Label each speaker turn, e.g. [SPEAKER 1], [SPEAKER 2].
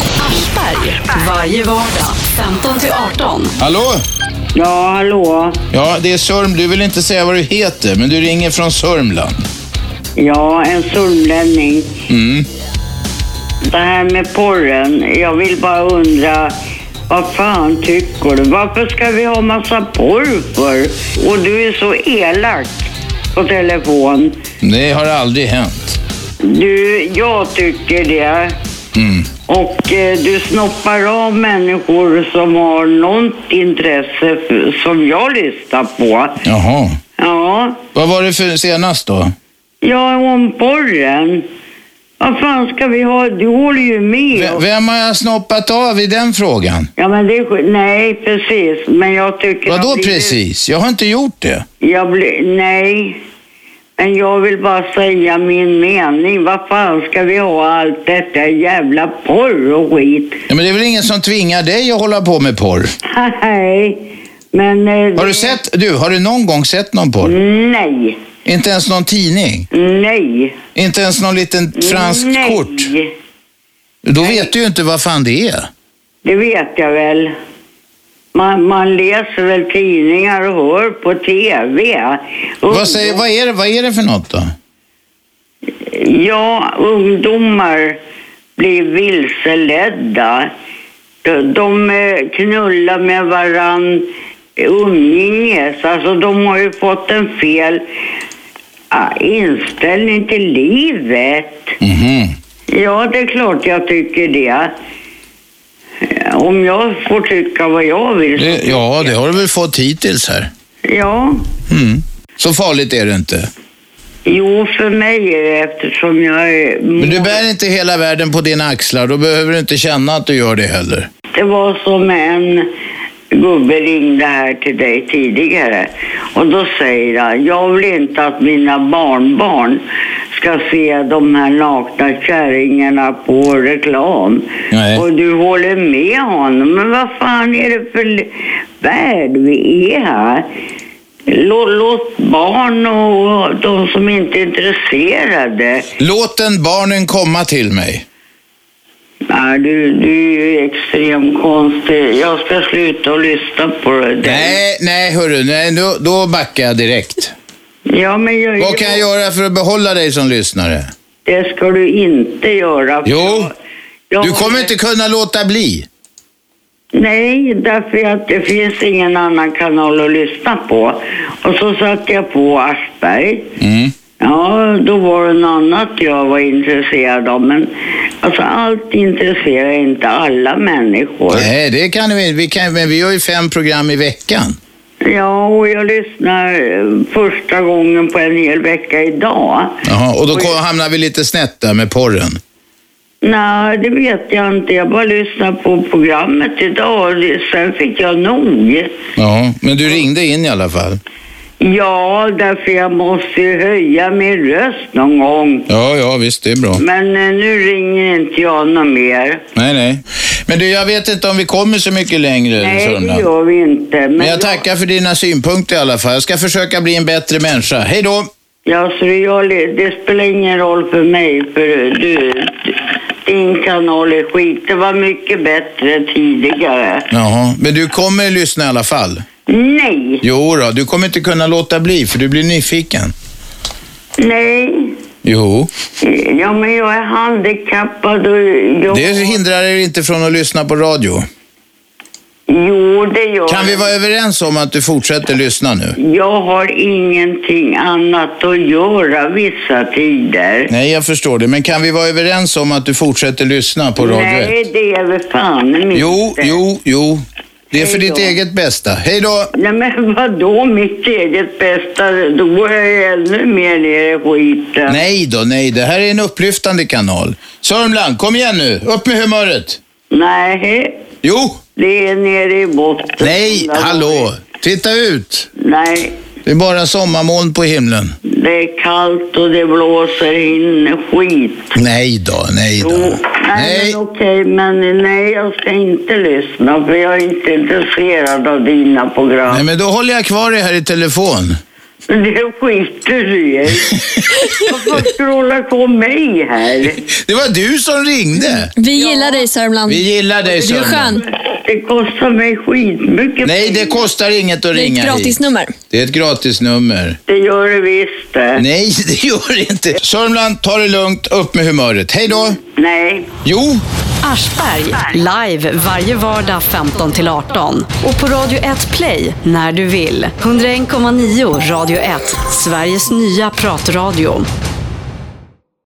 [SPEAKER 1] Aschberg. Varje vardag 15 till 18.
[SPEAKER 2] Hallå?
[SPEAKER 3] Ja, hallå.
[SPEAKER 2] Ja, det är Sörm. Du vill inte säga vad du heter, men du ringer från Sörmland.
[SPEAKER 3] Ja, en sörmlänning.
[SPEAKER 2] Mm.
[SPEAKER 3] Det här med porren. Jag vill bara undra, vad fan tycker du? Varför ska vi ha massa porr för? Och du är så elak på telefon.
[SPEAKER 2] Det har aldrig hänt.
[SPEAKER 3] Du, jag tycker det.
[SPEAKER 2] Mm.
[SPEAKER 3] Och eh, du snoppar av människor som har något intresse f- som jag lyssnar på.
[SPEAKER 2] Jaha.
[SPEAKER 3] Ja,
[SPEAKER 2] Vad var det för senast då?
[SPEAKER 3] ja om porren. Vad fan ska vi ha? Du håller ju med.
[SPEAKER 2] V- vem har jag snoppat av i den frågan?
[SPEAKER 3] Ja, men det är sk- Nej, precis. Men jag tycker...
[SPEAKER 2] Vadå
[SPEAKER 3] jag blir-
[SPEAKER 2] precis? Jag har inte gjort det.
[SPEAKER 3] Jag blir... Nej. Men jag vill bara säga min mening. Vad fan ska vi ha allt detta jävla porr och skit?
[SPEAKER 2] Ja, men det är väl ingen som tvingar dig att hålla på med porr?
[SPEAKER 3] Nej. Men... eh,
[SPEAKER 2] Har du
[SPEAKER 3] det-
[SPEAKER 2] sett, du, har du någon gång sett någon porr?
[SPEAKER 3] Nej.
[SPEAKER 2] Inte ens någon tidning?
[SPEAKER 3] Nej.
[SPEAKER 2] Inte ens någon liten fransk
[SPEAKER 3] Nej.
[SPEAKER 2] kort? Då vet du ju inte vad fan det är.
[SPEAKER 3] Det vet jag väl. Man, man läser väl tidningar och hör på TV. Ungdom-
[SPEAKER 2] Vad, säger, vad, är det, vad är det för något då?
[SPEAKER 3] Ja, ungdomar blir vilseledda. De, de eh, knullar med varann umgänges. Alltså de har ju fått en fel ah, inställning till livet.
[SPEAKER 2] Mhm.
[SPEAKER 3] Ja, det är klart jag tycker det. Eh, Om jag får tycka vad jag vill.
[SPEAKER 2] Det, ja, det har du väl fått hittills här.
[SPEAKER 3] Ja.
[SPEAKER 2] Mm. Så farligt är det inte.
[SPEAKER 3] Jo, för mig är det eftersom jag är...
[SPEAKER 2] Men du bär inte hela världen på dina axlar. Då behöver du inte känna att du gör det heller.
[SPEAKER 3] Det var som en gubbe ringde här till dig tidigare och då säger han, jag vill inte att mina barnbarn ska se de här nakna kärringarna på reklam.
[SPEAKER 2] Nej.
[SPEAKER 3] Och du håller med honom, men vad fan är det för l- värld vi är här? Lå- Låt barn och de som inte är intresserade
[SPEAKER 2] Låt den barnen komma till mig.
[SPEAKER 3] Nej, du, du är ju extremt konstig. Jag ska sluta och lyssna på dig.
[SPEAKER 2] Nej, nej hörru, nej, då, då backar jag direkt.
[SPEAKER 3] Ja, men jag,
[SPEAKER 2] Vad kan jag göra för att behålla dig som lyssnare?
[SPEAKER 3] Det ska du inte göra. för
[SPEAKER 2] Jo.
[SPEAKER 3] jag- jag-
[SPEAKER 2] Du kommer inte kunna låta bli.
[SPEAKER 3] Nej, därför att det finns ingen annan kanal att lyssna på. Och så satte jag på Aschberg.
[SPEAKER 2] Mm.
[SPEAKER 3] Ja, då var det något annat jag var intresserad av. Men alltså, allt intresserar inte alla människor.
[SPEAKER 2] Nej, det kan vi vi kan, Men vi gör ju fem program i veckan.
[SPEAKER 3] Ja, och jag lyssnar eh, första gången på en hel vecka idag.
[SPEAKER 2] Jaha, och då kom, hamnar vi lite snett där med porren.
[SPEAKER 3] Nej, det vet jag inte. Jag bara lyssnade på programmet idag och det- sen fick jag nog.
[SPEAKER 2] Ja, men du ringde in i alla fall.
[SPEAKER 3] Ja, därför jag måste ju höja min röst någon gång.
[SPEAKER 2] Ja, ja, visst, det är bra.
[SPEAKER 3] Men eh, nu ringer inte jag någon mer.
[SPEAKER 2] Nej, nej. Men du, jag vet inte om vi kommer så mycket längre.
[SPEAKER 3] Nej,
[SPEAKER 2] Sörmland.
[SPEAKER 3] det gör vi inte. Men,
[SPEAKER 2] Men jag tackar för dina synpunkter i alla fall. Jag ska försöka bli en bättre människa. Hej då!
[SPEAKER 3] Ja, så det, gör, li- det spelar ingen roll för mig, för eh, du, du, din kanal är skit. Det var mycket bättre tidigare.
[SPEAKER 2] Jaha, men du kommer lyssna i alla fall?
[SPEAKER 3] Nej,
[SPEAKER 2] Jo då, du kommer inte kunna låta bli för du blir nyfiken.
[SPEAKER 3] nej.
[SPEAKER 2] Jo,
[SPEAKER 3] Ja, men jag är handikappad och jag...
[SPEAKER 2] det hindrar er inte från att lyssna på radio.
[SPEAKER 3] Jo, det gör
[SPEAKER 2] Kan vi
[SPEAKER 3] jag.
[SPEAKER 2] vara överens om att du fortsätter lyssna nu?
[SPEAKER 3] Jag har ingenting annat att göra vissa tider.
[SPEAKER 2] Nej, jag förstår det. Men kan vi vara överens om att du fortsätter lyssna på radio?
[SPEAKER 3] Nej, det är väl fan inte.
[SPEAKER 2] Jo, jo, jo. Det är för
[SPEAKER 3] Hej
[SPEAKER 2] ditt
[SPEAKER 3] då.
[SPEAKER 2] eget bästa. Hej då!
[SPEAKER 3] Nej, men vadå mitt eget bästa? Då går jag ännu mer ner i skiten.
[SPEAKER 2] Nej då, nej. Det här är en upplyftande kanal. Sörmland, kom igen nu. Upp med humöret.
[SPEAKER 3] Nej,
[SPEAKER 2] Jo!
[SPEAKER 3] det är nere i botten.
[SPEAKER 2] Nej,
[SPEAKER 3] Vadå?
[SPEAKER 2] hallå. Titta ut.
[SPEAKER 3] Nej,
[SPEAKER 2] Det är bara sommarmoln på himlen.
[SPEAKER 3] det är kallt och det blåser in skit.
[SPEAKER 2] Nej då, nej
[SPEAKER 3] Jo,
[SPEAKER 2] då.
[SPEAKER 3] nej,
[SPEAKER 2] Nej.
[SPEAKER 3] men okej, men nej, jag ska inte lyssna för jag är inte intresserad av dina program.
[SPEAKER 2] Nej, men då håller jag kvar dig här i telefon.
[SPEAKER 3] Det skiter du i. Varför ska du hålla på mig här?
[SPEAKER 2] Det var du som ringde.
[SPEAKER 4] Vi gillar dig Sörmland.
[SPEAKER 2] Vi gillar dig
[SPEAKER 4] Du är
[SPEAKER 2] Sörmland.
[SPEAKER 4] skön.
[SPEAKER 3] Det kostar mig skitmycket
[SPEAKER 2] Nej, det kostar inget att
[SPEAKER 4] Det är
[SPEAKER 2] ringa
[SPEAKER 4] ett
[SPEAKER 2] hit.
[SPEAKER 4] gratisnummer.
[SPEAKER 2] Det är ett gratisnummer.
[SPEAKER 3] Det gör det visst det.
[SPEAKER 2] Nej, det gör det inte. Sörmland, ta det lugnt. Upp med humöret. Hej då.
[SPEAKER 3] Nej.
[SPEAKER 2] Jo,
[SPEAKER 1] Aschberg, live varje vardag 15-18. Och på Radio 1 Play, när du vill. 101,9 Radio 1, Sveriges nya pratradio.